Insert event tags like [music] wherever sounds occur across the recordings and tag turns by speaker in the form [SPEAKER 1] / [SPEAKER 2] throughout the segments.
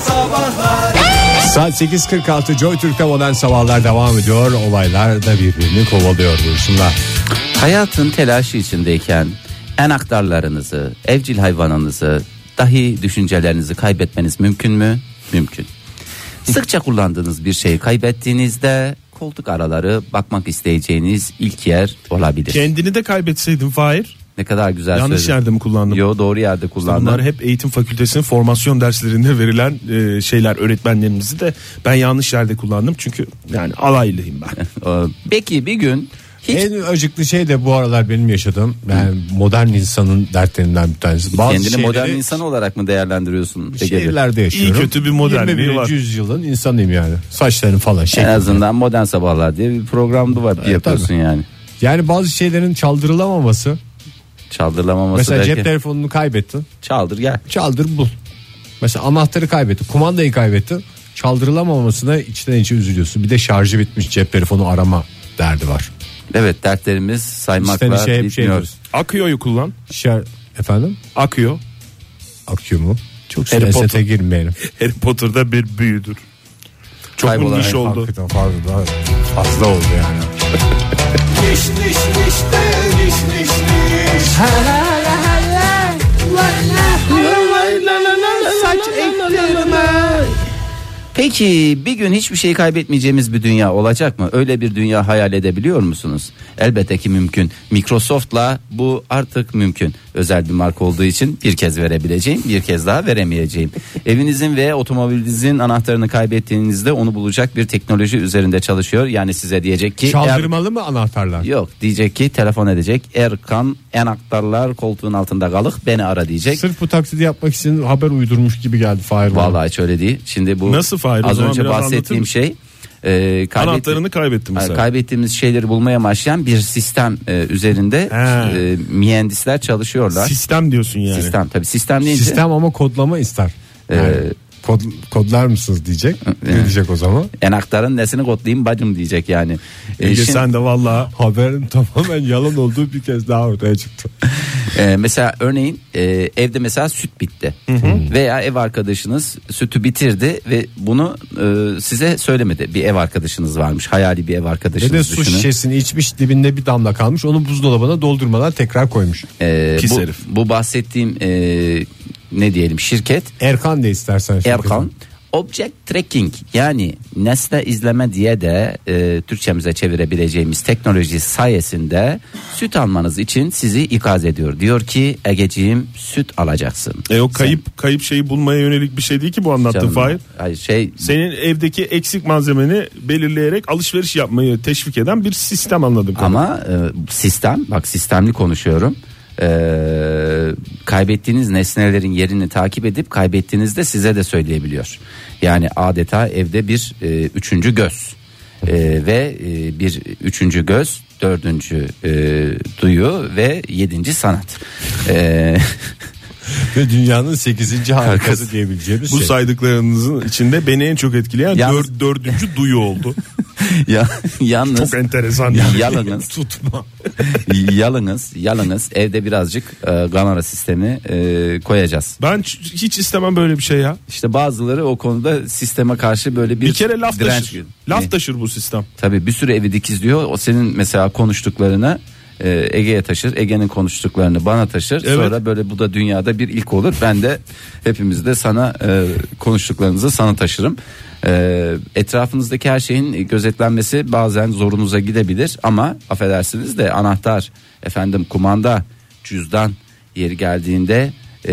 [SPEAKER 1] sabahlar.
[SPEAKER 2] Saat 8.46 Joy Türk'te modern sabahlar devam ediyor. Olaylar da birbirini kovalıyor buyursunlar.
[SPEAKER 3] Hayatın telaşı içindeyken en aktarlarınızı, evcil hayvanınızı, dahi düşüncelerinizi kaybetmeniz mümkün mü? Mümkün. Sıkça kullandığınız bir şeyi kaybettiğinizde koltuk araları bakmak isteyeceğiniz ilk yer olabilir.
[SPEAKER 4] Kendini de kaybetseydim Fahir.
[SPEAKER 3] ne kadar güzel
[SPEAKER 4] Şey, Yanlış
[SPEAKER 3] söyledin.
[SPEAKER 4] yerde mi kullandım?
[SPEAKER 3] Yo doğru yerde kullandım.
[SPEAKER 4] Bunlar hep eğitim fakültesinin formasyon derslerinde verilen e, şeyler öğretmenlerimizi de ben yanlış yerde kullandım. Çünkü yani
[SPEAKER 3] [laughs]
[SPEAKER 4] alaylıyım ben.
[SPEAKER 3] [laughs] Ee, Peki bir gün hiç
[SPEAKER 2] En acıklı şey de bu aralar benim yaşadığım yani modern insanın dertlerinden bir tanesi. Bazı
[SPEAKER 3] kendini
[SPEAKER 2] şeyleri
[SPEAKER 3] modern insan olarak mı değerlendiriyorsun? Ege Bey?
[SPEAKER 2] şehirlerde yaşıyorum.
[SPEAKER 4] İyi kötü bir modernliği
[SPEAKER 2] 21.
[SPEAKER 4] var.
[SPEAKER 2] yüzyılın insanıyım yani. Saçların falan şey.
[SPEAKER 3] En azından modern sabahlar diye bir programda var yapıyorsun
[SPEAKER 2] tabii.
[SPEAKER 3] yani.
[SPEAKER 2] Yani bazı şeylerin çaldırılamaması.
[SPEAKER 3] Çaldırlamaması
[SPEAKER 2] mesela
[SPEAKER 3] derken,
[SPEAKER 2] cep telefonunu kaybettin.
[SPEAKER 3] çaldır gel.
[SPEAKER 2] Çaldır bul. Mesela anahtarı kaybettin. Kumandayı kaybettin. Çaldırılamamasına içten içe üzülüyorsun. Bir de şarjı bitmiş cep telefonu arama derdi var.
[SPEAKER 3] Evet dertlerimiz saymakla
[SPEAKER 2] İstediğin şey hep şey
[SPEAKER 3] bitmiyor.
[SPEAKER 2] diyoruz.
[SPEAKER 4] Akıyor'yu kullan.
[SPEAKER 2] Şer, efendim?
[SPEAKER 4] Akıyor.
[SPEAKER 2] Akıyor mu? Çok
[SPEAKER 4] Harry Potter.
[SPEAKER 2] siyasete girmeyelim.
[SPEAKER 4] [laughs] Harry Potter'da bir büyüdür. Çok
[SPEAKER 3] Kaybolan şey.
[SPEAKER 4] bulmuş
[SPEAKER 3] hayvan.
[SPEAKER 4] oldu.
[SPEAKER 2] Hakikaten fazla, fazla oldu yani.
[SPEAKER 1] Niş niş niş de niş niş niş.
[SPEAKER 3] Peki bir gün hiçbir şey kaybetmeyeceğimiz bir dünya olacak mı? Öyle bir dünya hayal edebiliyor musunuz? Elbette ki mümkün. Microsoft'la bu artık mümkün. Özel bir marka olduğu için bir kez verebileceğim, bir kez
[SPEAKER 2] [laughs]
[SPEAKER 3] daha veremeyeceğim. Evinizin ve otomobilinizin anahtarını kaybettiğinizde onu bulacak bir teknoloji üzerinde çalışıyor. Yani size diyecek ki eğer-
[SPEAKER 2] Çaldırmalı mı anahtarlar?
[SPEAKER 3] Yok diyecek ki telefon edecek. Erkan en aktarlar koltuğun altında kalık beni ara diyecek.
[SPEAKER 2] Sırf bu taklidi yapmak için haber uydurmuş gibi geldi Fahir. bana.
[SPEAKER 3] Vallahi hiç öyle değil. Şimdi bu
[SPEAKER 4] Nasıl Fahir? O
[SPEAKER 3] az
[SPEAKER 4] zaman
[SPEAKER 3] önce
[SPEAKER 4] biraz anlatır
[SPEAKER 3] bahsettiğim
[SPEAKER 4] mısın?
[SPEAKER 3] şey e, kaybet-
[SPEAKER 4] Anahtarını kaybettim
[SPEAKER 3] Hayır,
[SPEAKER 4] mesela.
[SPEAKER 3] kaybettiğimiz şeyleri bulmaya başlayan bir sistem e, üzerinde
[SPEAKER 4] He.
[SPEAKER 3] e, mühendisler çalışıyorlar.
[SPEAKER 4] Sistem diyorsun yani.
[SPEAKER 3] Sistem tabii sistem deyince
[SPEAKER 2] Sistem ama kodlama ister.
[SPEAKER 3] Ee,
[SPEAKER 2] Yani kod, kodlar mısınız diyecek. Ne diyecek o zaman?
[SPEAKER 3] en aktarın nesini kodlayayım bacım diyecek yani. E,
[SPEAKER 4] Ege
[SPEAKER 3] şimdi-
[SPEAKER 4] sen de valla
[SPEAKER 2] Haberin [laughs] tamamen yalan olduğu bir kez daha ortaya çıktı.
[SPEAKER 3] Ee, mesela örneğin e, evde mesela süt bitti veya ev arkadaşınız sütü bitirdi ve bunu e, size söylemedi. Bir ev arkadaşınız varmış hayali bir ev
[SPEAKER 2] Ve
[SPEAKER 3] arkadaşınız
[SPEAKER 2] de su
[SPEAKER 3] düşünün.
[SPEAKER 2] şişesini içmiş dibinde bir damla kalmış. Onu buzdolabına doldurmadan tekrar koymuş.
[SPEAKER 3] Ee,
[SPEAKER 4] Pis
[SPEAKER 3] bu,
[SPEAKER 4] herif.
[SPEAKER 3] bu bahsettiğim e, ne diyelim şirket
[SPEAKER 2] Erkan de istersen. şimdi.
[SPEAKER 3] Erkan Object Tracking yani nesne izleme diye de e, Türkçemize çevirebileceğimiz teknoloji sayesinde süt almanız için sizi ikaz ediyor. Diyor ki Egeciğim süt alacaksın.
[SPEAKER 4] e, o kayıp kayıp şeyi bulmaya yönelik bir şey değil ki bu anlattığın
[SPEAKER 3] Canım,
[SPEAKER 4] Fahir.
[SPEAKER 3] Hayır şey
[SPEAKER 4] Senin evdeki eksik malzemeni belirleyerek alışveriş yapmayı teşvik eden bir sistem anladım.
[SPEAKER 3] ama e, sistem bak sistemli konuşuyorum. E, kaybettiğiniz nesnelerin yerini takip edip kaybettiğinizde size de söyleyebiliyor. Yani adeta evde bir e, üçüncü göz E, ve e, bir üçüncü göz dördüncü e, duyu ve yedinci sanat. E, [laughs]
[SPEAKER 2] Ve dünyanın 8. harikası
[SPEAKER 3] Karkası.
[SPEAKER 2] diyebileceğimiz
[SPEAKER 4] Bu
[SPEAKER 2] şey.
[SPEAKER 4] saydıklarınızın içinde beni en çok etkileyen
[SPEAKER 3] Yalnız-
[SPEAKER 4] dör- dördüncü duyu oldu.
[SPEAKER 3] ya, yalnız
[SPEAKER 4] çok enteresan. yani.
[SPEAKER 3] yalnız
[SPEAKER 2] tutma.
[SPEAKER 3] yalnız yalnız evde birazcık e, ganara sistemi e, koyacağız.
[SPEAKER 4] Ben ç- hiç istemem böyle bir şey ya.
[SPEAKER 3] İşte bazıları o konuda sisteme karşı böyle bir,
[SPEAKER 4] Bir kere laf
[SPEAKER 3] direnç
[SPEAKER 4] taşır.
[SPEAKER 3] gün-
[SPEAKER 4] Laf
[SPEAKER 3] Ne?
[SPEAKER 4] taşır bu sistem.
[SPEAKER 3] Tabii bir sürü evi dikizliyor. O senin mesela konuştuklarını e, Ege'ye taşır. Ege'nin konuştuklarını bana taşır.
[SPEAKER 4] Evet.
[SPEAKER 3] Sonra böyle bu da dünyada bir ilk olur. Ben de hepimiz de sana e, konuştuklarınızı sana taşırım. E, etrafınızdaki her şeyin gözetlenmesi bazen zorunuza gidebilir ama affedersiniz de anahtar, efendim kumanda, cüzdan yeri geldiğinde e,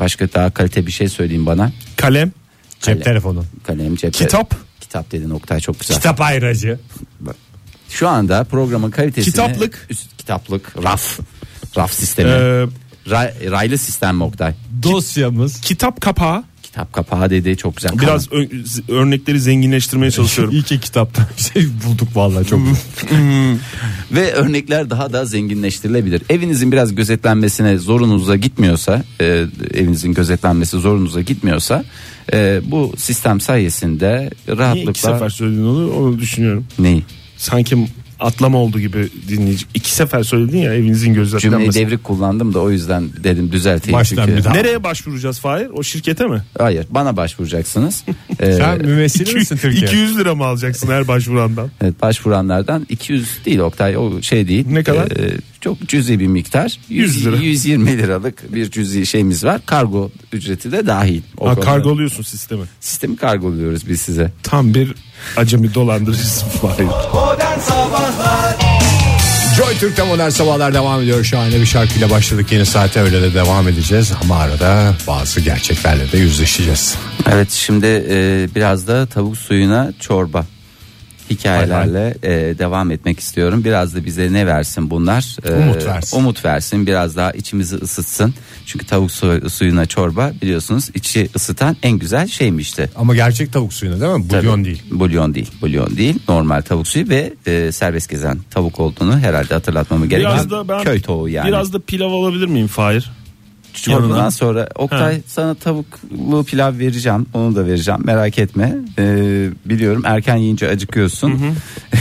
[SPEAKER 3] başka daha kalite bir şey söyleyeyim bana.
[SPEAKER 4] Kalem,
[SPEAKER 2] Cep telefonu.
[SPEAKER 3] Kalem cep
[SPEAKER 4] kitap.
[SPEAKER 3] Kitap dedin Oktay çok güzel.
[SPEAKER 2] Kitap ayracı.
[SPEAKER 3] Şu anda programın kalitesini
[SPEAKER 4] Kitaplık.
[SPEAKER 3] Üst- kitaplık, raf, raf sistemi.
[SPEAKER 4] e,
[SPEAKER 3] Ray- raylı sistem mi Oktay.
[SPEAKER 2] Ee, Dosyamız.
[SPEAKER 4] kitap kapağı.
[SPEAKER 3] Kitap kapağı dedi çok güzel.
[SPEAKER 4] Biraz ö- z- örnekleri zenginleştirmeye
[SPEAKER 3] [laughs]
[SPEAKER 4] [laughs] çalışıyorum.
[SPEAKER 2] İyi ki kitaptan bir şey bulduk vallahi çok.
[SPEAKER 3] ve örnekler daha da zenginleştirilebilir. Evinizin biraz gözetlenmesine zorunuza gitmiyorsa, e, evinizin gözetlenmesi zorunuza gitmiyorsa e, bu sistem sayesinde
[SPEAKER 4] Niye iki
[SPEAKER 3] rahatlıkla
[SPEAKER 4] sefer söyledin onu, onu düşünüyorum.
[SPEAKER 3] neyi?
[SPEAKER 4] Sanki atlama oldu gibi dinleyici. İki sefer söyledin ya evinizin
[SPEAKER 3] Cümleyi
[SPEAKER 4] gözetlenmesi.
[SPEAKER 3] devrik kullandım da o yüzden dedim düzelteyim.
[SPEAKER 2] Baştan
[SPEAKER 3] çünkü.
[SPEAKER 2] bir daha.
[SPEAKER 4] Nereye başvuracağız Fahir? O şirkete mi?
[SPEAKER 3] Hayır bana başvuracaksınız.
[SPEAKER 4] [laughs]
[SPEAKER 3] Ee,
[SPEAKER 2] Sen mümessil misin Türkiye?
[SPEAKER 4] 200 lira mı alacaksın her başvurandan?
[SPEAKER 3] Evet, başvuranlardan 200 değil Oktay o şey değil.
[SPEAKER 4] Ne kadar?
[SPEAKER 3] Ee, çok cüzi bir miktar.
[SPEAKER 4] 100 lira.
[SPEAKER 3] 120 liralık bir cüzi şeyimiz var. Kargo ücreti de dahil. O
[SPEAKER 4] Ha,
[SPEAKER 3] konuda.
[SPEAKER 4] kargoluyorsun sistemi.
[SPEAKER 3] Sistemi kargoluyoruz biz size.
[SPEAKER 4] Tam bir acemi dolandırıcısın Fahir.
[SPEAKER 1] Modern Sabahlar
[SPEAKER 2] Joy Türk'te modern sabahlar devam ediyor. Şahane bir şarkıyla başladık yeni saate öyle de devam edeceğiz. Ama arada bazı gerçeklerle de yüzleşeceğiz.
[SPEAKER 3] Evet şimdi e, biraz da tavuk suyuna çorba hikayelerle e, devam etmek istiyorum. Biraz da bize ne versin bunlar? E,
[SPEAKER 2] Umut versin.
[SPEAKER 3] Umut versin. Biraz daha içimizi ısıtsın. Çünkü tavuk su- suyuna çorba biliyorsunuz içi ısıtan en güzel şeymişti.
[SPEAKER 2] Ama gerçek tavuk suyuna değil mi? Bulyon
[SPEAKER 3] Tabii.
[SPEAKER 2] değil.
[SPEAKER 3] Bulyon değil. Bulyon değil. Normal tavuk suyu ve e, serbest gezen tavuk olduğunu herhalde hatırlatmamı gerekiyor.
[SPEAKER 4] Biraz da ben
[SPEAKER 3] köy tavuğu yani.
[SPEAKER 4] Biraz da pilav alabilir miyim Fahir?
[SPEAKER 3] Çorbadan
[SPEAKER 4] Yanına.
[SPEAKER 3] sonra Oktay
[SPEAKER 4] Ha.
[SPEAKER 3] sana tavuklu pilav vereceğim. Onu da vereceğim. Merak etme. Ee, biliyorum erken yiyince acıkıyorsun.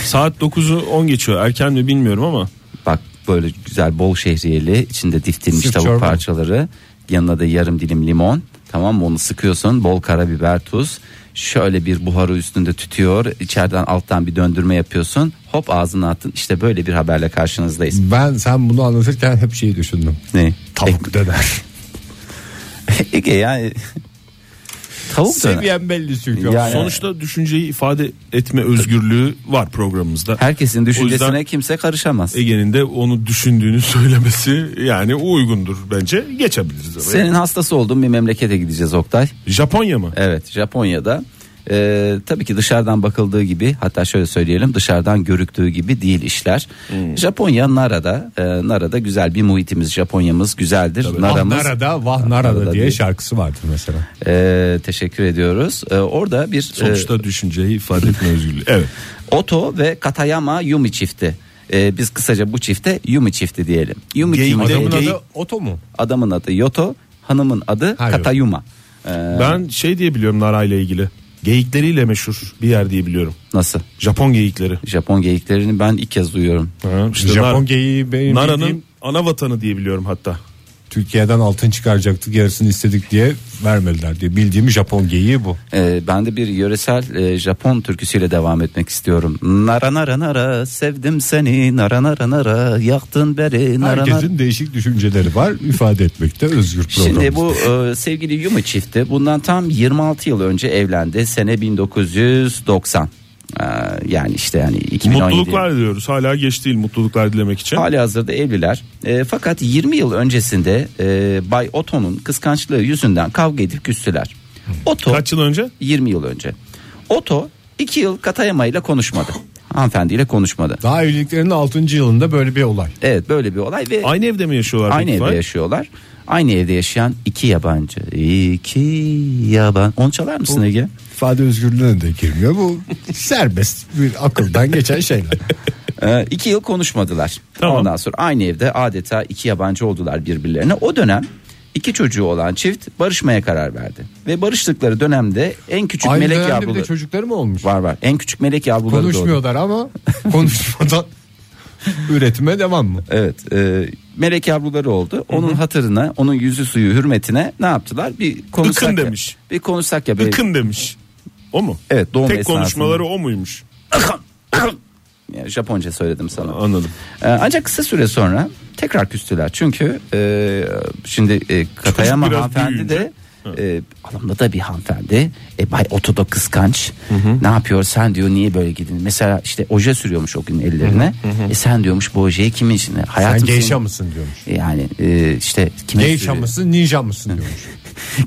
[SPEAKER 4] Saat 9'u 10 geçiyor. Erken mi bilmiyorum ama.
[SPEAKER 3] Bak böyle güzel bol şehriyeli içinde diftilmiş
[SPEAKER 2] Sırf
[SPEAKER 3] tavuk
[SPEAKER 2] çorba.
[SPEAKER 3] parçaları. Yanına da yarım dilim limon. Tamam mı? Onu sıkıyorsun. Bol karabiber, tuz. Şöyle bir buharı üstünde tütüyor. İçeriden alttan bir döndürme yapıyorsun. Hop ağzına attın. İşte böyle bir
[SPEAKER 2] [laughs]
[SPEAKER 3] haberle karşınızdayız.
[SPEAKER 2] Ben sen bunu anlatırken hep şeyi düşündüm.
[SPEAKER 3] Ne?
[SPEAKER 2] Tavuk
[SPEAKER 4] [laughs]
[SPEAKER 2] döner.
[SPEAKER 3] Ege yani. [laughs] Tavuk döner.
[SPEAKER 2] Seviyen belli çünkü.
[SPEAKER 3] Yani-
[SPEAKER 4] Sonuçta düşünceyi ifade etme özgürlüğü var programımızda.
[SPEAKER 3] Herkesin düşüncesine
[SPEAKER 4] O yüzden-
[SPEAKER 3] kimse karışamaz.
[SPEAKER 4] Ege'nin de onu düşündüğünü [laughs] söylemesi yani uygundur bence. Geçebiliriz. oraya.
[SPEAKER 3] Senin hastası olduğun bir memlekete gideceğiz Oktay.
[SPEAKER 4] Japonya mı?
[SPEAKER 3] Evet Japonya'da. Ee, tabii ki dışarıdan bakıldığı gibi hatta şöyle söyleyelim dışarıdan görüktüğü gibi değil işler.
[SPEAKER 2] Hmm.
[SPEAKER 3] Japonya Nara'da e, Nara'da güzel bir muhitimiz Japonya'mız güzeldir.
[SPEAKER 2] Vah
[SPEAKER 3] Nara'mız
[SPEAKER 2] Ah, narada, vah narada
[SPEAKER 3] Narada
[SPEAKER 2] diye
[SPEAKER 3] değil.
[SPEAKER 2] şarkısı vardır mesela.
[SPEAKER 3] e, teşekkür ediyoruz. E, orada bir
[SPEAKER 4] Sonuçta Ee, düşünceyi ifade etme özgürlüğü. Evet.
[SPEAKER 3] e, Oto ve Katayama Yumi çifti. E, biz kısaca bu çifte Yumi çifti diyelim. Yumi
[SPEAKER 4] Geyik-
[SPEAKER 3] çifti-
[SPEAKER 2] Adamın
[SPEAKER 4] geyik-
[SPEAKER 2] adı Oto mu?
[SPEAKER 3] adamın adı Yoto, hanımın adı
[SPEAKER 2] Ha,
[SPEAKER 3] Katayuma. E,
[SPEAKER 4] Ben şey diye biliyorum Nara ile ilgili. Geyikleriyle meşhur bir yer diye biliyorum.
[SPEAKER 3] nasıl?
[SPEAKER 4] Japon geyikleri.
[SPEAKER 3] Japon geyiklerini ben ilk kez duyuyorum.
[SPEAKER 4] Ha, işte
[SPEAKER 2] Japon
[SPEAKER 4] Nar-
[SPEAKER 2] geyiği benim
[SPEAKER 4] Nara'nın
[SPEAKER 2] bildiğim
[SPEAKER 4] ana vatanı diye biliyorum hatta.
[SPEAKER 2] Türkiye'den altın çıkaracaktık yarısını istedik diye vermediler diye. Bildiğim Japon geyiği bu.
[SPEAKER 3] Ee, ben de bir yöresel e, Japon türküsüyle devam etmek istiyorum. Nara nara nara sevdim seni nara nara nara yaktın beni nara nara.
[SPEAKER 2] Herkesin değişik düşünceleri var. ifade etmekte özgür program.
[SPEAKER 3] Şimdi bu e, sevgili Yuma çifti bundan tam 26 yıl önce evlendi. Sene 1990. Ee, yani işte yani 2017.
[SPEAKER 4] Mutluluklar diyoruz. Hala geç değil mutluluklar dilemek için.
[SPEAKER 3] Hali hazırda evliler. E, fakat 20 yıl öncesinde e, Bay Oto'nun kıskançlığı yüzünden kavga edip küstüler. Oto
[SPEAKER 4] Kaç yıl önce?
[SPEAKER 3] 20 yıl önce. Oto 2 yıl Katayama ile konuşmadı. Hanımefendiyle konuşmadı.
[SPEAKER 2] Daha evliliklerinin 6. yılında böyle bir olay.
[SPEAKER 3] Evet böyle bir olay ve aynı,
[SPEAKER 4] Aynı evde mi yaşıyorlar?
[SPEAKER 3] evde
[SPEAKER 4] Lütfen?
[SPEAKER 3] yaşıyorlar. Aynı evde yaşayan iki yabancı. İki yaban. Onu çalar mısın Ege?
[SPEAKER 2] İfade özgürlüğüne de girmiyor. Bu [laughs] serbest bir akıldan geçen şeyler.
[SPEAKER 3] Ee, iki yıl konuşmadılar.
[SPEAKER 4] Tamam.
[SPEAKER 3] Ondan sonra aynı evde adeta iki yabancı oldular birbirlerine. O dönem iki çocuğu olan çift barışmaya karar verdi. Ve barıştıkları dönemde en küçük
[SPEAKER 2] Aynı
[SPEAKER 3] melek
[SPEAKER 2] dönemde bir de
[SPEAKER 3] yavruları.
[SPEAKER 2] çocukları mı olmuş?
[SPEAKER 3] Var var. En küçük melek yavruları doğdu.
[SPEAKER 2] Konuşmuyorlar
[SPEAKER 3] [laughs]
[SPEAKER 2] ama konuşmadan üretime devam mı?
[SPEAKER 3] Evet e, melek yavruları oldu. Onun hatırına onun yüzü suyu hürmetine ne yaptılar? Bir konuşsak
[SPEAKER 4] Ikın
[SPEAKER 3] ya.
[SPEAKER 4] demiş.
[SPEAKER 3] Bir konuşsak ya.
[SPEAKER 4] Ikın demiş. O mu?
[SPEAKER 3] Evet, doğum
[SPEAKER 4] Tek
[SPEAKER 3] esnasında.
[SPEAKER 4] konuşmaları o muymuş?
[SPEAKER 3] [coughs] Ya, Japonca söyledim sana.
[SPEAKER 4] Anladım.
[SPEAKER 3] E, ancak kısa süre sonra tekrar küstüler. Çünkü e, şimdi e, Katayama
[SPEAKER 4] biraz
[SPEAKER 3] hanımefendi de
[SPEAKER 4] büyüyünce.
[SPEAKER 3] e, alımda da bir hanımefendi. E, Bay Oto da kıskanç. Ne yapıyor sen diyor niye böyle gidin? Mesela işte oje sürüyormuş o gün ellerine. E, sen diyormuş bu ojeyi kimin için?
[SPEAKER 2] Sen
[SPEAKER 3] Hayatım
[SPEAKER 2] geyşa
[SPEAKER 3] senin-
[SPEAKER 2] mısın diyormuş.
[SPEAKER 3] Yani e, işte kime
[SPEAKER 2] Geyşa
[SPEAKER 3] sürüyor?
[SPEAKER 2] mısın ninja mısın diyormuş.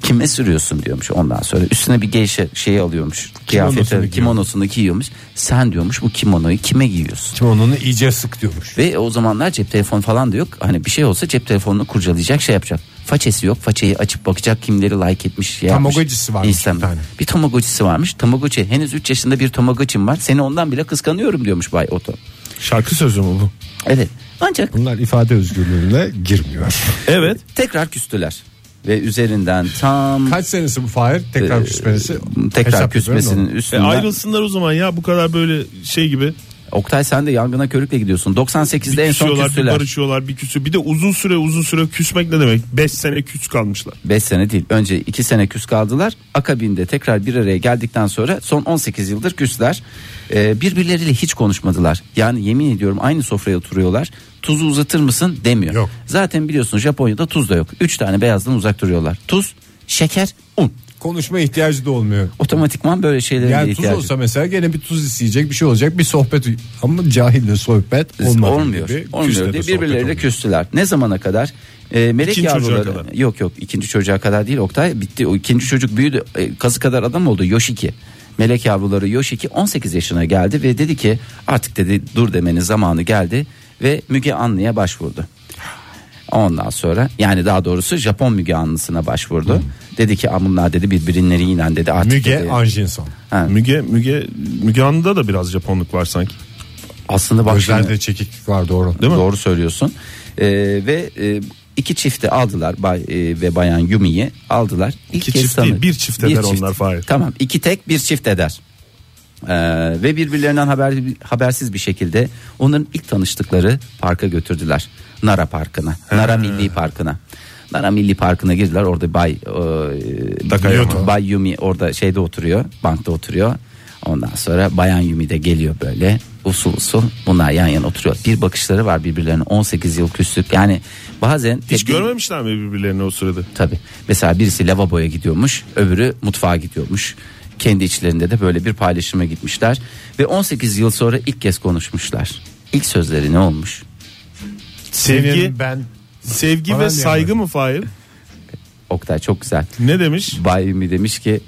[SPEAKER 3] kime sürüyorsun diyormuş ondan sonra üstüne bir geyşe şeyi alıyormuş kıyafeti
[SPEAKER 2] giyiyor.
[SPEAKER 3] kimonosunu giyiyormuş sen diyormuş bu kimonoyu kime giyiyorsun
[SPEAKER 2] Şimdi onu iyice sık diyormuş.
[SPEAKER 3] ve o zamanlar cep telefonu falan da yok hani bir şey olsa cep telefonunu kurcalayacak şey yapacak façesi yok façeyi açıp bakacak kimleri like etmiş şey yapmış.
[SPEAKER 2] Tamagotchisi varmış
[SPEAKER 3] İnsan-
[SPEAKER 2] bir tane.
[SPEAKER 3] bir tamagotchisi varmış tamagotchi henüz 3 yaşında bir tamagotchim var seni ondan bile kıskanıyorum diyormuş Bay Oto
[SPEAKER 4] Şarkı sözü mü bu?
[SPEAKER 3] evet ancak
[SPEAKER 2] Bunlar ifade özgürlüğüne girmiyor.
[SPEAKER 4] Evet.
[SPEAKER 3] tekrar küstüler ve üzerinden
[SPEAKER 2] [laughs]
[SPEAKER 3] tam
[SPEAKER 2] Kaç senesi bu Fahir? Tekrar küsmesi.
[SPEAKER 3] Ee, tekrar
[SPEAKER 2] Hesap yapıyorum da.
[SPEAKER 3] küsmesinin
[SPEAKER 4] E
[SPEAKER 3] üstünden
[SPEAKER 4] ayrılsınlar o zaman ya bu kadar böyle şey gibi
[SPEAKER 3] Oktay sen de yangına körükle gidiyorsun. 98'de en son
[SPEAKER 4] küsüyorlar, bir
[SPEAKER 3] küstüler.
[SPEAKER 4] barışıyorlar, bir küsü. Bir de uzun süre uzun süre küsmek ne demek? 5 sene küs kalmışlar.
[SPEAKER 3] 5 sene değil önce 2 sene küs kaldılar akabinde tekrar bir araya geldikten sonra son 18 yıldır küsler Ee, birbirleriyle hiç konuşmadılar yani yemin ediyorum aynı sofraya oturuyorlar tuzu uzatır mısın demiyor
[SPEAKER 2] Yok.
[SPEAKER 3] zaten biliyorsun Japonya'da tuz da yok 3 tane beyazdan uzak duruyorlar tuz şeker un
[SPEAKER 2] Konuşma ihtiyacı da olmuyor.
[SPEAKER 3] otomatikman böyle şeylere
[SPEAKER 2] Yani
[SPEAKER 3] de
[SPEAKER 2] tuz
[SPEAKER 3] ihtiyacı
[SPEAKER 2] olsa mesela gene bir tuz isteyecek bir şey olacak bir sohbet ama cahille sohbet olmadı
[SPEAKER 3] olmuyor.
[SPEAKER 2] gibi.
[SPEAKER 3] Olmuyor
[SPEAKER 2] Küsle de
[SPEAKER 3] diye
[SPEAKER 2] sohbet
[SPEAKER 3] birbirleriyle
[SPEAKER 2] olmuyor.
[SPEAKER 3] küstüler. Ne zamana kadar? Ee, melek
[SPEAKER 4] İkinci çocuğa
[SPEAKER 3] yavruları.
[SPEAKER 4] kadar.
[SPEAKER 3] Yok yok ikinci çocuğa kadar değil Oktay. Bitti o ikinci çocuk büyüdü. E, kazı kadar adam oldu Yoshiki. Melek yavruları Yoshiki 18 yaşına geldi ve dedi ki artık dedi dur demenin zamanı geldi ve Müge Anlı'ya başvurdu. Ondan sonra yani daha doğrusu Japon Müge Anlısı'na başvurdu. Dedi ki "Aa, bunlar dedi birbirleriyle dedi artık
[SPEAKER 2] Müge
[SPEAKER 3] dedi.
[SPEAKER 2] Anjinson.
[SPEAKER 3] Ha,
[SPEAKER 4] Müge Müge Müge Anlı'da da biraz Japonluk var sanki.
[SPEAKER 3] aslında bak şimdi-
[SPEAKER 2] Gözlerde çekiklik var doğru.
[SPEAKER 4] Değil mi?
[SPEAKER 3] Doğru söylüyorsun. Ee, ve e, iki çifti aldılar bay, e, ve bayan Yumi'yi aldılar. İlk
[SPEAKER 4] İki
[SPEAKER 3] kez
[SPEAKER 4] çift
[SPEAKER 3] tanı-
[SPEAKER 4] değil, bir çift eder onlar, Fahir.
[SPEAKER 3] Tamam iki tek bir çift eder. Ee, ve birbirlerinden haber, habersiz bir şekilde onların ilk tanıştıkları parka götürdüler. Nara Parkı'na. Nara Milli Parkı'na. Nara Milli Parkı'na girdiler. Orada Bay e,
[SPEAKER 4] Takayama.
[SPEAKER 3] Bay Yumi orada şeyde oturuyor. Bankta oturuyor. Ondan sonra Bayan Yumi de geliyor böyle usul usul bunlar yan yana oturuyor. Bir bakışları var birbirlerine 18 yıl küslük yani bazen
[SPEAKER 4] Hiç
[SPEAKER 3] tabii-
[SPEAKER 4] görmemişler mi birbirlerini o sırada?
[SPEAKER 3] Tabii. Mesela birisi lavaboya gidiyormuş, öbürü mutfağa gidiyormuş. Kendi içlerinde de böyle bir paylaşıma gitmişler ve 18 yıl sonra ilk kez konuşmuşlar. İlk sözleri ne olmuş?
[SPEAKER 4] Sevgi
[SPEAKER 2] Senin ben
[SPEAKER 4] sevgi
[SPEAKER 2] Bana
[SPEAKER 4] ve
[SPEAKER 2] ne
[SPEAKER 4] saygı mı Fahir?
[SPEAKER 3] Oktay çok güzel.
[SPEAKER 4] Ne demiş?
[SPEAKER 3] Bay Ümmü demiş ki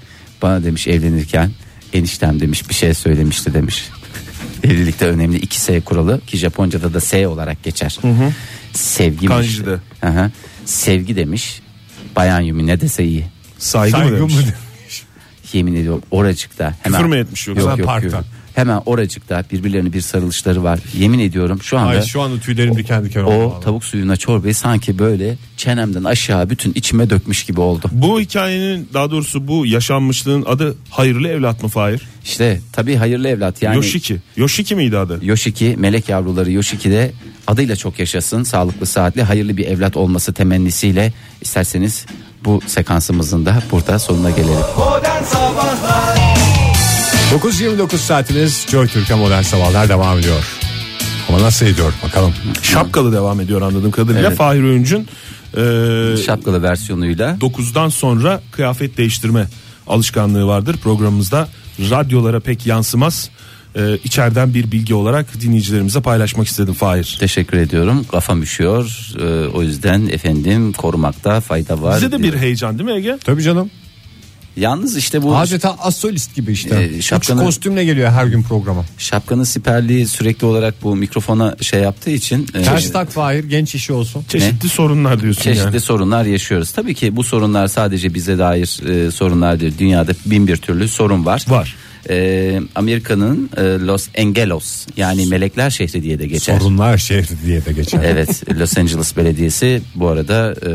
[SPEAKER 3] bana demiş evlenirken eniştem demiş bir şey söylemişti demiş. [laughs] Evlilikte önemli iki S kuralı ki Japonca'da da S olarak geçer. Sevgi
[SPEAKER 4] Kanji'de.
[SPEAKER 3] Hı hı. Sevgi demiş. Bayan Yumi ne dese iyi.
[SPEAKER 4] Saygı,
[SPEAKER 2] saygı
[SPEAKER 4] mı
[SPEAKER 2] mı
[SPEAKER 4] demiş?
[SPEAKER 2] demiş?
[SPEAKER 3] Yemin ediyorum oracıkta. Hemen,
[SPEAKER 4] Küfür mü etmiş yoksa?
[SPEAKER 3] Yok,
[SPEAKER 2] Hemen
[SPEAKER 3] yok,
[SPEAKER 2] parkta.
[SPEAKER 3] yok. Hemen oracıkta birbirlerine bir sarılışları var. Yemin ediyorum şu anda
[SPEAKER 2] Ay şu anda tüylerim diken diken oldu.
[SPEAKER 3] o
[SPEAKER 2] vallahi.
[SPEAKER 3] tavuk suyuna çorbayı sanki böyle çenemden aşağı bütün içime dökmüş gibi oldu.
[SPEAKER 4] Bu hikayenin daha doğrusu bu yaşanmışlığın adı hayırlı evlat mı Fahir?
[SPEAKER 3] İşte tabii hayırlı evlat yani.
[SPEAKER 4] Yoshiki. Yoshiki miydi adı?
[SPEAKER 3] Yoshiki melek yavruları Yoshiki de adıyla çok yaşasın. Sağlıklı saatli hayırlı bir evlat olması temennisiyle isterseniz bu sekansımızın da burada sonuna gelelim.
[SPEAKER 1] Modern Sabahlar
[SPEAKER 2] 9.29 saatimiz Joy Türk'e modern sabahlar devam ediyor. Ama nasıl ediyor bakalım.
[SPEAKER 4] Şapkalı devam ediyor anladığım kadarıyla.
[SPEAKER 3] Evet.
[SPEAKER 4] Fahir Öğüncü'nün e,
[SPEAKER 3] Şapkalı versiyonuyla
[SPEAKER 4] 9'dan sonra kıyafet değiştirme alışkanlığı vardır programımızda. Radyolara pek yansımaz. Ee, içeriden bir bilgi olarak dinleyicilerimize paylaşmak istedim Fahir.
[SPEAKER 3] teşekkür ediyorum. Kafam üşüyor. Ee, o yüzden efendim korumakta fayda var.
[SPEAKER 4] Bize de bir heyecan değil mi Ege?
[SPEAKER 2] Tabii canım.
[SPEAKER 3] Yalnız işte bu
[SPEAKER 2] Adeta asolist gibi işte.
[SPEAKER 3] Ee, şapkanın-
[SPEAKER 2] Üç kostümle geliyor her gün programa.
[SPEAKER 3] şapkanın siperliği sürekli olarak bu mikrofona şey yaptığı için e,
[SPEAKER 2] Ters tak Fahir genç işi olsun.
[SPEAKER 4] Çeşitli sorunlar diyorsun
[SPEAKER 3] çeşitli
[SPEAKER 4] yani.
[SPEAKER 3] sorunlar yaşıyoruz. Tabii ki bu sorunlar sadece bize dair e, sorunlar değil. Dünyada bin bir türlü sorun var.
[SPEAKER 4] Var.
[SPEAKER 3] E, Amerika'nın e, Los Angeles yani melekler şehri diye de geçer.
[SPEAKER 2] Sorunlar şehri diye de geçer.
[SPEAKER 4] [laughs]
[SPEAKER 3] Evet Los Angeles Belediyesi bu arada e,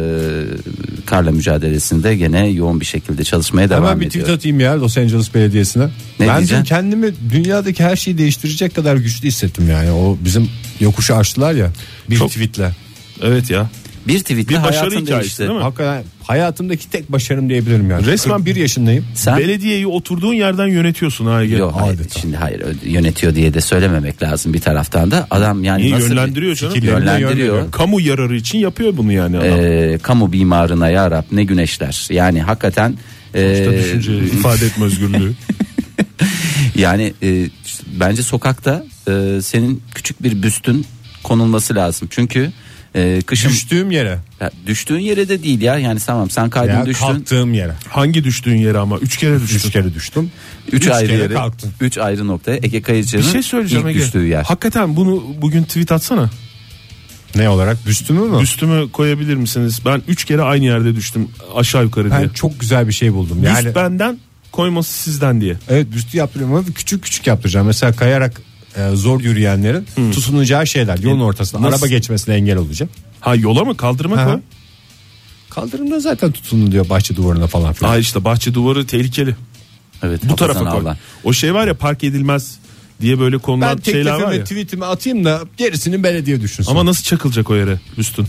[SPEAKER 3] karla mücadelesinde gene yoğun bir şekilde çalışmaya devam
[SPEAKER 2] Hemen bir
[SPEAKER 3] ediyor.
[SPEAKER 2] tweet atayım ya Los Angeles Belediyesi'ne.
[SPEAKER 3] Ne
[SPEAKER 2] ben
[SPEAKER 3] diyeceksin?
[SPEAKER 2] dün kendimi dünyadaki her şeyi değiştirecek kadar güçlü hissettim yani. O bizim yokuşu açtılar ya bir
[SPEAKER 4] Çok-
[SPEAKER 2] tweetle.
[SPEAKER 4] Evet ya.
[SPEAKER 3] Bir tweetle
[SPEAKER 4] Bir başarı
[SPEAKER 3] hayatın
[SPEAKER 4] hikayesi,
[SPEAKER 3] değişti.
[SPEAKER 4] değil mi?
[SPEAKER 2] Hakikaten hayatımdaki tek başarım diyebilirim yani.
[SPEAKER 4] Resmen-
[SPEAKER 2] Resmen bir yaşındayım.
[SPEAKER 3] Sen
[SPEAKER 4] Belediyeyi oturduğun yerden yönetiyorsun ha Ege.
[SPEAKER 3] Yok hayır,
[SPEAKER 2] Adeta.
[SPEAKER 3] şimdi hayır ö- yönetiyor diye de söylememek lazım bir taraftan da adam yani
[SPEAKER 4] Niye
[SPEAKER 3] nasıl bir-
[SPEAKER 4] yönlendiriyor canım?
[SPEAKER 2] Fikirlerini
[SPEAKER 3] yönlendiriyor.
[SPEAKER 2] yönlendiriyor.
[SPEAKER 4] Kamu yararı için yapıyor bunu yani adam.
[SPEAKER 3] Ee, kamu bimarına ya Rab ne güneşler yani hakikaten e,
[SPEAKER 4] İşte düşünce ifade etme özgürlüğü.
[SPEAKER 3] [laughs] yani e, işte bence sokakta e, senin küçük bir büstün konulması lazım çünkü e, kışın
[SPEAKER 2] Düştüğüm yere
[SPEAKER 3] Ya düştüğün yere de değil ya yani tamam sen kaydın
[SPEAKER 2] veya
[SPEAKER 3] düştün
[SPEAKER 2] kalktığım yere.
[SPEAKER 4] Hangi düştüğün yere ama üç kere düştün.
[SPEAKER 2] Üç kere düştüm.
[SPEAKER 3] üç,
[SPEAKER 2] Üç
[SPEAKER 3] ayrı
[SPEAKER 2] kere
[SPEAKER 3] yere
[SPEAKER 2] kalktın.
[SPEAKER 3] üç ayrı noktaya Ege
[SPEAKER 4] Bir
[SPEAKER 3] Kayıcı'nın
[SPEAKER 4] şey söyleyeceğim
[SPEAKER 3] ilk
[SPEAKER 4] Ege.
[SPEAKER 3] düştüğü yer
[SPEAKER 4] Hakikaten bunu bugün tweet atsana.
[SPEAKER 2] Ne olarak düştüm mü?
[SPEAKER 4] Üstümü koyabilir misiniz? Ben üç kere aynı yerde düştüm aşağı yukarı diye.
[SPEAKER 2] Ben çok güzel bir şey buldum.
[SPEAKER 4] Yani...
[SPEAKER 2] Yani
[SPEAKER 4] benden koyması sizden diye.
[SPEAKER 2] evet büstü yaptırıyorum ama küçük küçük yaptıracağım. Mesela kayarak e, zor yürüyenlerin tutunacağı şeyler yolun ortasında
[SPEAKER 4] Nasıl?
[SPEAKER 2] araba geçmesine engel olacağım.
[SPEAKER 4] Ha yola mı kaldırmak
[SPEAKER 2] Aha.
[SPEAKER 4] mı?
[SPEAKER 2] Kaldırımda zaten tutunun diyor bahçe duvarına falan filan.
[SPEAKER 4] Ha işte bahçe duvarı tehlikeli.
[SPEAKER 3] evet
[SPEAKER 4] Bu tarafa koy.
[SPEAKER 3] Allah.
[SPEAKER 4] O şey var ya park edilmez diye böyle konulan
[SPEAKER 2] Ben
[SPEAKER 4] şeyler var
[SPEAKER 2] teklifimi
[SPEAKER 4] ya.
[SPEAKER 2] tweetimi atayım da gerisini belediye düşünsün.
[SPEAKER 4] Ama nasıl çakılacak o yere üstün?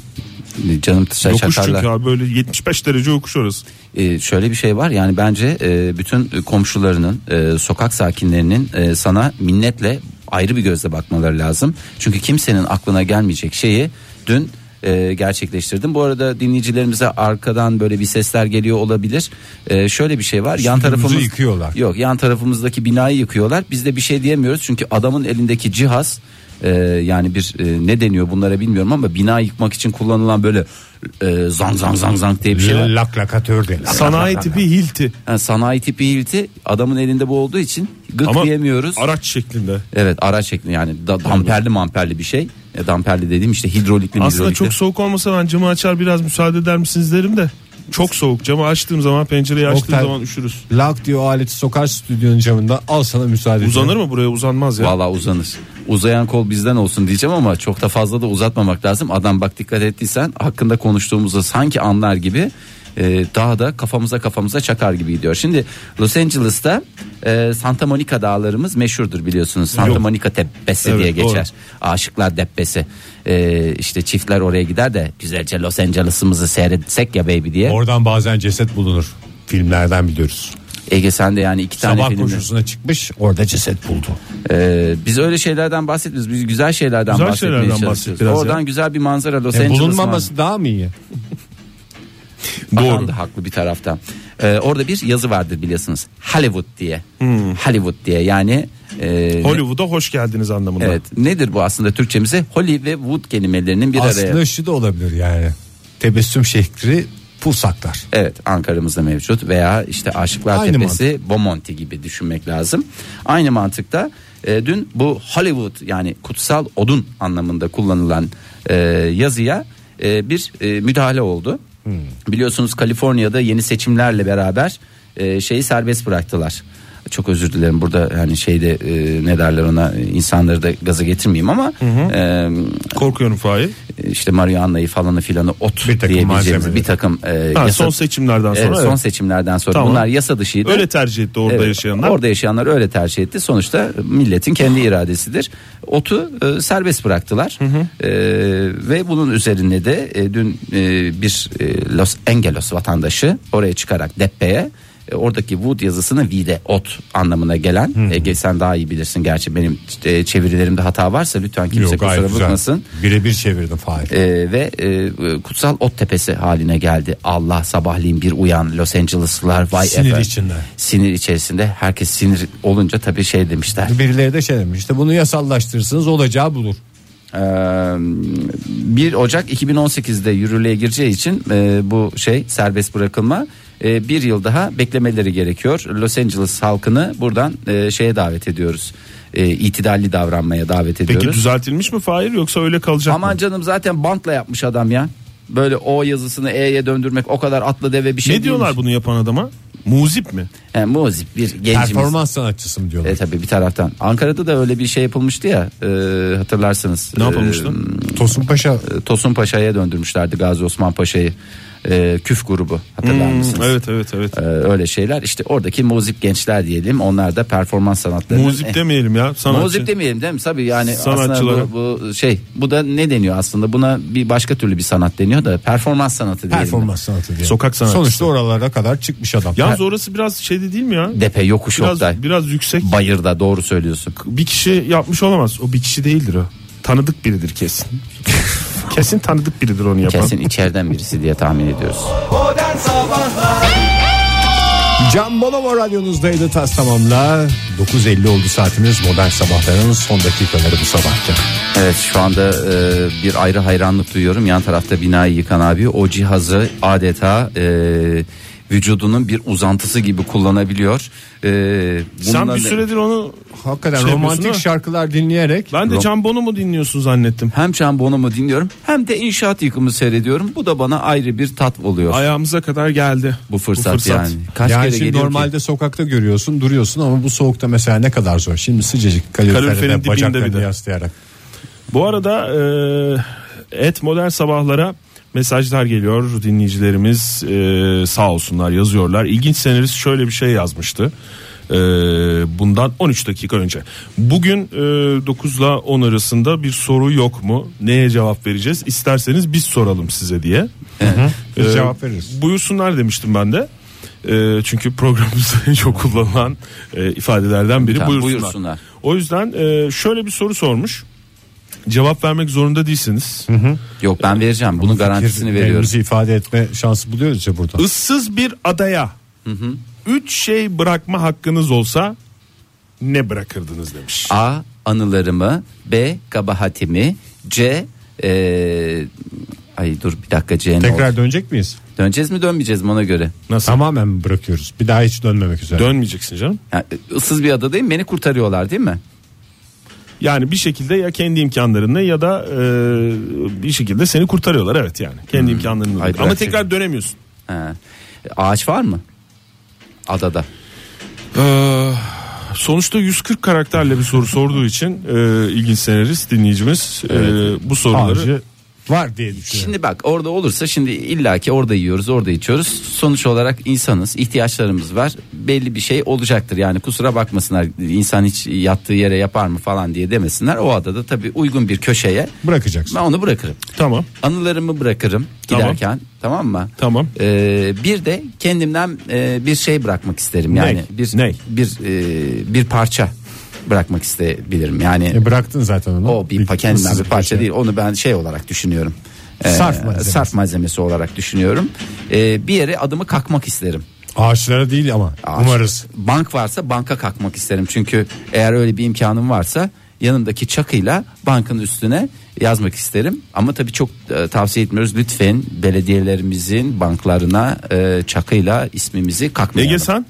[SPEAKER 3] Canım dışarı
[SPEAKER 4] Yokuş çünkü
[SPEAKER 3] çakarlar.
[SPEAKER 4] abi böyle 75 derece yokuş orası.
[SPEAKER 3] Ee, şöyle bir şey var yani bence e, bütün komşularının e, sokak sakinlerinin e, sana minnetle ayrı bir gözle bakmaları lazım. Çünkü kimsenin aklına gelmeyecek şeyi dün e, gerçekleştirdim. Bu arada dinleyicilerimize arkadan böyle bir sesler geliyor olabilir. E, şöyle bir şey var. Yan
[SPEAKER 2] Stüdyomuzu
[SPEAKER 3] tarafımız
[SPEAKER 2] yıkıyorlar.
[SPEAKER 3] Yok yan tarafımızdaki binayı yıkıyorlar. Biz de bir şey diyemiyoruz çünkü adamın elindeki cihaz e, yani bir e, ne deniyor bunlara bilmiyorum ama bina yıkmak için kullanılan böyle e, zang zang zang zang diye bir şey var.
[SPEAKER 2] Laklakatör de.
[SPEAKER 4] Sanayi tipi hilti.
[SPEAKER 3] Yani sanayi tipi hilti adamın elinde bu olduğu için gık
[SPEAKER 4] Ama
[SPEAKER 3] diyemiyoruz.
[SPEAKER 4] araç şeklinde.
[SPEAKER 3] evet araç şekli yani da, damperli mamperli bir şey. E, damperli dediğim işte hidrolikli
[SPEAKER 4] Aslında
[SPEAKER 3] hidrolikli.
[SPEAKER 4] çok soğuk olmasa ben camı açar biraz müsaade eder misiniz derim de. Çok soğuk camı açtığım zaman pencereyi açtığım
[SPEAKER 2] Oktay-
[SPEAKER 4] zaman üşürüz.
[SPEAKER 2] Lak diyor aleti sokar stüdyonun camında al sana müsaade.
[SPEAKER 4] Uzanır mı buraya uzanmaz ya.
[SPEAKER 3] Valla uzanır. Uzayan kol bizden olsun diyeceğim ama çok da fazla da uzatmamak lazım. Adam bak dikkat ettiysen hakkında konuştuğumuzda sanki anlar gibi e, daha da kafamıza kafamıza çakar gibi gidiyor. Şimdi Los Angeles'ta e, Santa Monica dağlarımız meşhurdur biliyorsunuz. Santa
[SPEAKER 4] Yok.
[SPEAKER 3] Monica Teppesi
[SPEAKER 4] Evet,
[SPEAKER 3] diye geçer. Aşıklar Deppesi. E, işte çiftler oraya gider de güzelce Los Angeles'ımızı seyretsek ya baby diye.
[SPEAKER 2] Oradan bazen ceset bulunur. Filmlerden biliyoruz.
[SPEAKER 3] Ege sen de yani iki tane
[SPEAKER 2] Sabah
[SPEAKER 3] filmle-
[SPEAKER 2] koşusuna çıkmış orada ceset buldu.
[SPEAKER 3] Ee, biz öyle şeylerden bahsetmiyoruz. Biz güzel şeylerden
[SPEAKER 4] Güzel
[SPEAKER 3] bahsetmeye
[SPEAKER 4] şeylerden
[SPEAKER 3] çalışıyoruz.
[SPEAKER 4] bahset biraz
[SPEAKER 3] Oradan
[SPEAKER 4] ya.
[SPEAKER 3] güzel bir manzara Los
[SPEAKER 2] E,
[SPEAKER 3] Angeles
[SPEAKER 2] bulunmaması daha mı iyi?
[SPEAKER 3] var. Bakan
[SPEAKER 4] Doğru.
[SPEAKER 3] da haklı bir taraftan. Ee, orada bir yazı vardır biliyorsunuz. Hollywood diye.
[SPEAKER 2] Hmm.
[SPEAKER 3] Hollywood diye yani e,
[SPEAKER 4] Hollywood'a hoş geldiniz anlamında.
[SPEAKER 3] Evet. Nedir bu aslında Türkçemize? Holly ve Wood kelimelerinin bir araya.
[SPEAKER 2] Aslında şu da olabilir yani. Tebessüm şekli pul saklar.
[SPEAKER 3] Evet Ankara'mızda mevcut veya işte Aşıklar
[SPEAKER 2] Aynı
[SPEAKER 3] Tepesi Bomonti gibi düşünmek lazım. Aynı mantıkta e, dün bu Hollywood yani kutsal odun anlamında kullanılan e, yazıya e, bir e, müdahale oldu. Biliyorsunuz Kaliforniya'da yeni seçimlerle beraber e, şeyi serbest bıraktılar. Çok özür dilerim burada hani şeyde e, ne derler ona e, insanları da gaza getirmeyeyim ama e,
[SPEAKER 4] Korkuyorum Fahir.
[SPEAKER 3] işte Marihuana'yı falanı filanı ot
[SPEAKER 2] Bir takım
[SPEAKER 3] diyebileceğimiz
[SPEAKER 2] malzemeleri.
[SPEAKER 3] bir takım e,
[SPEAKER 4] Ha,
[SPEAKER 3] yasa-
[SPEAKER 4] son seçimlerden sonra.
[SPEAKER 3] Evet, son
[SPEAKER 4] evet.
[SPEAKER 3] seçimlerden sonra
[SPEAKER 4] Tamam.
[SPEAKER 3] bunlar yasa dışıydı.
[SPEAKER 4] Öyle tercih etti orada
[SPEAKER 3] Evet,
[SPEAKER 4] yaşayanlar.
[SPEAKER 3] Orada yaşayanlar öyle tercih etti. Sonuçta milletin kendi iradesidir. Otu e, serbest bıraktılar. E, ve bunun üzerine de e, dün e, bir e, Los Angeles vatandaşı oraya çıkarak deppeye e, oradaki wood yazısını vide ot anlamına gelen Ege sen daha iyi bilirsin gerçi benim e, çevirilerimde hata varsa lütfen kimse
[SPEAKER 2] Yok
[SPEAKER 3] kusura
[SPEAKER 2] gayet güzel.
[SPEAKER 3] bakmasın.
[SPEAKER 2] Birebir çevirdim Fahir.
[SPEAKER 3] Ee, ve e, kutsal ot tepesi haline geldi. Allah sabahleyin bir uyan Los Angeles'lılar vay
[SPEAKER 2] Sinir
[SPEAKER 3] efe.
[SPEAKER 2] içinde.
[SPEAKER 3] Sinir içerisinde herkes sinir olunca tabii şey demişler.
[SPEAKER 2] Birileri de şey demiş işte bunu yasallaştırırsınız olacağı bulur.
[SPEAKER 3] Ee, 1 Ocak 2018'de yürürlüğe gireceği için e, bu şey serbest bırakılma e, bir yıl daha beklemeleri gerekiyor. Los Angeles halkını buradan e, şeye davet ediyoruz. E, itidalli davranmaya davet
[SPEAKER 4] Peki
[SPEAKER 3] ediyoruz.
[SPEAKER 4] düzeltilmiş mi Fahir yoksa öyle
[SPEAKER 3] [laughs]
[SPEAKER 4] kalacak
[SPEAKER 3] Aman
[SPEAKER 4] mı?
[SPEAKER 3] canım zaten bantla yapmış adam ya. Böyle O yazısını E'ye döndürmek o kadar atlı deve bir şey
[SPEAKER 4] ne diyorlar
[SPEAKER 3] değilmiş.
[SPEAKER 4] bunu yapan adama? Muzip mi?
[SPEAKER 3] He, muzip bir gencimiz.
[SPEAKER 2] Performans sanatçısı mı diyorlar.
[SPEAKER 3] E, tabii bir taraftan. Ankara'da da öyle bir şey yapılmıştı ya e, hatırlarsınız.
[SPEAKER 4] Ne
[SPEAKER 3] E,
[SPEAKER 4] yapılmıştı?
[SPEAKER 2] Tosun Paşa
[SPEAKER 3] e, Tosun Paşa'ya döndürmüşlerdi Gazi Osman Paşa'yı. E, küf grubu hatırlar
[SPEAKER 4] Hmm,
[SPEAKER 3] mısınız?
[SPEAKER 4] evet evet evet.
[SPEAKER 3] E, öyle şeyler işte oradaki muzip gençler diyelim onlar da performans sanatları.
[SPEAKER 4] Muzip demeyelim ya. Sanatçı.
[SPEAKER 3] eh. Muzip demeyelim değil mi? Tabii yani aslında
[SPEAKER 4] Sanatçılara.
[SPEAKER 3] bu, bu şey bu da ne deniyor aslında buna bir başka türlü bir sanat deniyor da performans sanatı diyelim.
[SPEAKER 2] performans sanatı diyor.
[SPEAKER 4] Sokak sanatçısı.
[SPEAKER 2] Sonuçta oralara kadar çıkmış adam.
[SPEAKER 4] Yalnız orası biraz şeyde değil mi ya?
[SPEAKER 3] Depe yokuş
[SPEAKER 4] Biraz,
[SPEAKER 3] Oktay.
[SPEAKER 4] biraz yüksek.
[SPEAKER 3] Bayırda doğru söylüyorsun.
[SPEAKER 4] bir kişi yapmış olamaz. O bir kişi değildir o. Tanıdık biridir kesin.
[SPEAKER 3] [laughs]
[SPEAKER 4] kesin tanıdık biridir onu yapan.
[SPEAKER 3] Kesin içeriden birisi diye tahmin ediyoruz.
[SPEAKER 1] Modern Sabahlar
[SPEAKER 2] Can Bonomo radyonuzdaydı tas tamamla. 9.50 oldu saatimiz modern sabahların son dakikaları bu sabahki.
[SPEAKER 3] Evet şu anda e, bir ayrı hayranlık duyuyorum. Yan tarafta binayı yıkan abi o cihazı adeta e, vücudunun bir uzantısı gibi kullanabiliyor. E,
[SPEAKER 4] Sen
[SPEAKER 3] bununla
[SPEAKER 4] bir
[SPEAKER 3] ne-
[SPEAKER 4] süredir onu
[SPEAKER 2] Hakikaten
[SPEAKER 4] Şey
[SPEAKER 2] romantik
[SPEAKER 4] yapıyorsun ha?
[SPEAKER 2] şarkılar dinleyerek
[SPEAKER 4] ben de
[SPEAKER 3] Rom-
[SPEAKER 4] Can Bono mu dinliyorsun zannettim.
[SPEAKER 3] hem Can Bonomo dinliyorum hem de inşaat yıkımı seyrediyorum. Bu da bana ayrı bir tat oluyor.
[SPEAKER 4] Ayağımıza kadar geldi.
[SPEAKER 3] bu fırsat, yani. Kaç
[SPEAKER 2] yani
[SPEAKER 3] kere
[SPEAKER 2] şimdi
[SPEAKER 3] geliyor
[SPEAKER 2] normalde
[SPEAKER 3] ki?
[SPEAKER 2] sokakta görüyorsun duruyorsun ama bu soğukta mesela ne kadar zor. Şimdi sıcacık
[SPEAKER 4] Kaloriferin
[SPEAKER 2] kaloriferine
[SPEAKER 4] dibinde bir
[SPEAKER 2] bacaklarını
[SPEAKER 4] de.
[SPEAKER 2] yaslayarak.
[SPEAKER 4] Bu arada e, et modern sabahlara mesajlar geliyor dinleyicilerimiz e, sağ olsunlar yazıyorlar. İlginç senarist şöyle bir şey yazmıştı. Ee, bundan 13 dakika önce. Bugün e, 9 ile 10 arasında bir soru yok mu? Neye cevap vereceğiz? İsterseniz biz soralım size diye.
[SPEAKER 2] Biz
[SPEAKER 4] Ee,
[SPEAKER 2] cevap veririz.
[SPEAKER 4] Buyursunlar demiştim ben de. Ee, çünkü programımızda [laughs] en çok kullanılan e, ifadelerden biri
[SPEAKER 3] Tamam,
[SPEAKER 4] buyursunlar.
[SPEAKER 3] buyursunlar.
[SPEAKER 4] O yüzden e, şöyle bir soru sormuş. Cevap vermek zorunda değilsiniz.
[SPEAKER 3] Yok ben vereceğim. Bunun garantisini veriyorum.
[SPEAKER 2] Kendimizi ifade etme şansı buluyoruz ya burada.
[SPEAKER 4] Issız bir adaya üç şey bırakma hakkınız olsa ne bırakırdınız demiş.
[SPEAKER 3] A anılarımı, B kabahatimi, C e, ay dur bir dakika C ne oldu?
[SPEAKER 2] Tekrar dönecek miyiz?
[SPEAKER 3] Döneceğiz mi dönmeyeceğiz mi ona göre?
[SPEAKER 4] Nasıl?
[SPEAKER 2] Tamamen mi bırakıyoruz. Bir daha hiç dönmemek üzere.
[SPEAKER 4] Dönmeyeceksin canım.
[SPEAKER 3] Yani, e, ıssız bir adadayım beni kurtarıyorlar değil mi?
[SPEAKER 4] Yani bir şekilde ya kendi imkanlarınla ya da e, bir şekilde seni kurtarıyorlar evet yani. Kendi imkanlarınla.
[SPEAKER 3] Ay,
[SPEAKER 4] Ama
[SPEAKER 3] bırak
[SPEAKER 4] tekrar dönemiyorsun.
[SPEAKER 3] Ha. Ağaç var mı? Adada.
[SPEAKER 4] Ee, sonuçta 140 karakterle bir soru sorduğu için e, ilginç senarist dinleyicimiz e, bu soruları
[SPEAKER 2] Ağacı var diye düşünüyorum.
[SPEAKER 3] Şimdi bak orada olursa şimdi illaki orada yiyoruz orada içiyoruz. Sonuç olarak insanız ihtiyaçlarımız var. Belli bir şey olacaktır yani kusura bakmasınlar insan hiç yattığı yere yapar mı falan diye demesinler. O adada tabii uygun bir köşeye
[SPEAKER 2] Bırakacaksın.
[SPEAKER 3] ben onu bırakırım.
[SPEAKER 4] tamam
[SPEAKER 3] Anılarımı bırakırım
[SPEAKER 4] Tamam.
[SPEAKER 3] giderken tamam mı?
[SPEAKER 4] Tamam.
[SPEAKER 3] Ee, bir de kendimden e, bir şey bırakmak isterim yani bir
[SPEAKER 4] Ney?
[SPEAKER 3] bir e, bir parça bırakmak isteyebilirim. Yani
[SPEAKER 2] E bıraktın zaten onu.
[SPEAKER 3] o bir pa- kendimden bir
[SPEAKER 2] ıssız
[SPEAKER 3] parça
[SPEAKER 2] köşe.
[SPEAKER 3] değil. Onu ben şey olarak düşünüyorum. E,
[SPEAKER 2] Sarf malzemesi.
[SPEAKER 3] sarf malzemesi olarak düşünüyorum. Ee, bir yere adımı kakmak isterim.
[SPEAKER 2] Ağaçlara değil ama
[SPEAKER 3] Ağaç-
[SPEAKER 2] umarız.
[SPEAKER 3] Bank varsa banka kakmak isterim. Çünkü eğer öyle bir imkanım varsa yanımdaki çakıyla bankın üstüne yazmak isterim. Ama tabii çok e, tavsiye etmiyoruz. Lütfen belediyelerimizin banklarına e, çakıyla ismimizi kakmayalım.
[SPEAKER 4] Ege sen?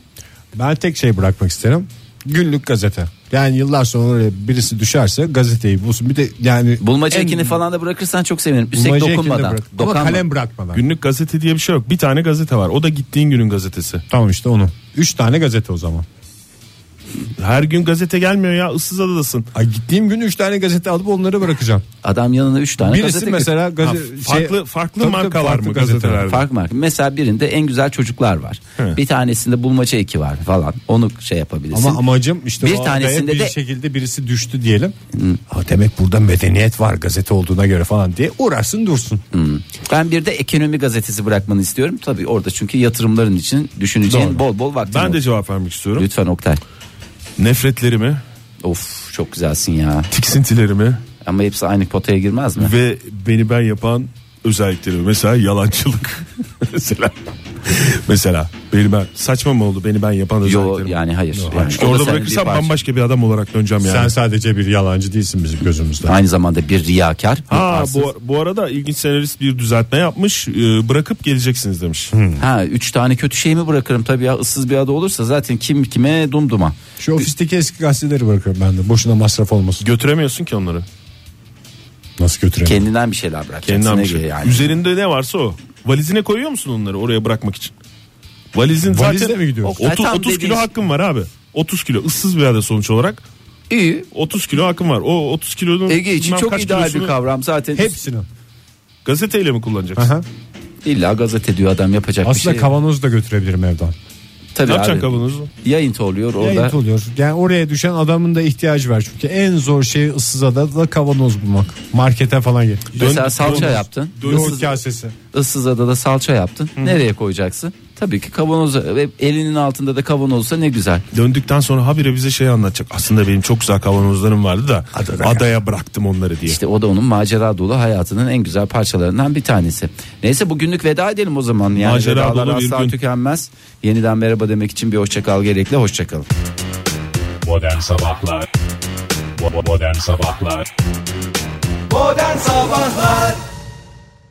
[SPEAKER 2] Ben tek şey bırakmak isterim. Günlük gazete. Yani yıllar sonra oraya birisi düşerse gazeteyi bulsun. Bir de yani
[SPEAKER 3] Bulmaca
[SPEAKER 2] en-
[SPEAKER 3] ekini falan da bırakırsan çok sevinirim. Üstelik
[SPEAKER 2] bulmaca ekini de
[SPEAKER 3] dokunmadan.
[SPEAKER 2] bırak. Ama
[SPEAKER 3] dokanma.
[SPEAKER 2] kalem bırakmadan.
[SPEAKER 4] Günlük gazete diye bir şey yok. Bir tane gazete var. O da gittiğin günün gazetesi.
[SPEAKER 2] Tamam işte onu. Üç tane gazete o zaman.
[SPEAKER 4] Her gün gazete gelmiyor ya. ıssız adadasın.
[SPEAKER 2] Ay gittiğim gün üç tane gazete alıp onları bırakacağım.
[SPEAKER 3] Adam yanına 3 tane
[SPEAKER 2] Birisi
[SPEAKER 3] Hani gazete
[SPEAKER 2] mesela
[SPEAKER 4] Ha,
[SPEAKER 2] gazete şey-
[SPEAKER 4] farklı farklı markalar mı gazetelerde?
[SPEAKER 3] Fark var. Mesela birinde en güzel çocuklar var.
[SPEAKER 4] He.
[SPEAKER 3] Bir tanesinde bulmaca eki var falan. Onu şey yapabilirsin.
[SPEAKER 2] Ama amacım işte
[SPEAKER 3] Bir
[SPEAKER 2] bir
[SPEAKER 3] tanesinde
[SPEAKER 2] tanesinde bir
[SPEAKER 3] de-
[SPEAKER 2] şekilde birisi düştü diyelim. Ha, demek burada medeniyet var gazete olduğuna göre falan diye uğraşsın dursun.
[SPEAKER 3] Hmm. Ben bir de ekonomi gazetesi bırakmanı istiyorum. Tabii orada çünkü yatırımların için düşüneceğin
[SPEAKER 4] Doğru.
[SPEAKER 3] bol bol vaktin
[SPEAKER 4] Ben de
[SPEAKER 3] olur.
[SPEAKER 4] cevap vermek istiyorum.
[SPEAKER 3] Lütfen Oktay.
[SPEAKER 4] Nefretlerimi,
[SPEAKER 3] Of çok güzelsin ya.
[SPEAKER 4] tiksintilerimi
[SPEAKER 3] Ama hepsi aynı potaya girmez mi?
[SPEAKER 4] ve beni ben yapan özellikleri mesela yalancılık [laughs] mesela mesela beni ben saçma mı oldu beni ben yapan
[SPEAKER 3] Yo
[SPEAKER 4] özelliklerim.
[SPEAKER 3] yani hayır. Yani
[SPEAKER 4] Çünkü
[SPEAKER 3] o da
[SPEAKER 4] orada
[SPEAKER 3] senin bir
[SPEAKER 4] bırakırsam
[SPEAKER 3] parça.
[SPEAKER 4] bambaşka bir adam olarak döneceğim yani.
[SPEAKER 2] Sen sadece bir yalancı değilsin bizim gözümüzde.
[SPEAKER 3] Aynı zamanda bir riyakar. bir
[SPEAKER 4] Ha
[SPEAKER 3] arsız.
[SPEAKER 4] bu, bu arada ilginç senarist bir düzeltme yapmış. Ee, bırakıp geleceksiniz demiş.
[SPEAKER 3] Ha üç tane kötü şey mi bırakırım tabii ya ıssız bir ada olursa zaten kim kime dumduma.
[SPEAKER 2] Şu ofisteki eski gazeteleri bırakıyorum ben de. Boşuna masraf olmasın.
[SPEAKER 4] Götüremiyorsun ki onları.
[SPEAKER 2] Nasıl götüreyim?
[SPEAKER 3] Kendinden bir şeyler bırakacaksın.
[SPEAKER 4] Kendinden bir
[SPEAKER 3] Ege
[SPEAKER 4] şey.
[SPEAKER 3] Yani.
[SPEAKER 4] Üzerinde ne varsa o. Valizine koyuyor musun onları oraya bırakmak için? Valizin
[SPEAKER 2] Valizle
[SPEAKER 4] zaten
[SPEAKER 2] mi gidiyoruz?
[SPEAKER 4] 30,
[SPEAKER 3] Tam
[SPEAKER 4] 30
[SPEAKER 3] dediğin- şey-
[SPEAKER 4] kilo hakkın var abi. 30 kilo ıssız bir ada sonuç olarak.
[SPEAKER 3] İyi
[SPEAKER 4] 30 kilo hakkın var. O 30 kilonun
[SPEAKER 3] Ege için
[SPEAKER 4] bilmem
[SPEAKER 3] çok
[SPEAKER 4] kaç
[SPEAKER 3] ideal bir
[SPEAKER 4] kilosunu
[SPEAKER 3] kavram zaten.
[SPEAKER 2] Hepsini.
[SPEAKER 4] Gazeteyle mi kullanacaksın?
[SPEAKER 2] Aha.
[SPEAKER 3] İlla gazete diyor adam yapacak
[SPEAKER 2] Aslında
[SPEAKER 3] bir şey. yok.
[SPEAKER 2] kavanozu da götürebilirim evden.
[SPEAKER 3] Tabii
[SPEAKER 4] Ne
[SPEAKER 3] abi.
[SPEAKER 4] yapacaksın kavanozu?
[SPEAKER 3] Yayın oluyor orada.
[SPEAKER 2] Yayıt oluyor. Yani oraya düşen adamın da ihtiyacı var. Çünkü en zor şey ıssız adada kavanoz bulmak. Markete falan git.
[SPEAKER 3] Mesela
[SPEAKER 4] Dön-
[SPEAKER 3] salça
[SPEAKER 4] dön-
[SPEAKER 3] yaptın.
[SPEAKER 2] Yoğurt
[SPEAKER 3] Issız,
[SPEAKER 2] kasesi.
[SPEAKER 3] ıssız adada salça yaptın. Nereye koyacaksın? Tabii ki kavanoza ve elinin altında da kavanozsa ne güzel.
[SPEAKER 4] Döndükten sonra habire bize şey anlatacak. Aslında benim çok güzel kavanozlarım vardı da adaya bıraktım onları diye.
[SPEAKER 3] İşte o da onun macera dolu hayatının en güzel parçalarından bir tanesi. Neyse bugünlük veda edelim o zaman. Yani
[SPEAKER 4] Macera
[SPEAKER 3] vedalar
[SPEAKER 4] dolu bir
[SPEAKER 3] asla
[SPEAKER 4] gün.
[SPEAKER 3] tükenmez. Yeniden merhaba demek için bir hoşçakal gerekli. Hoşçakalın.
[SPEAKER 5] Modern Sabahlar Bo- Modern Sabahlar
[SPEAKER 1] Modern Sabahlar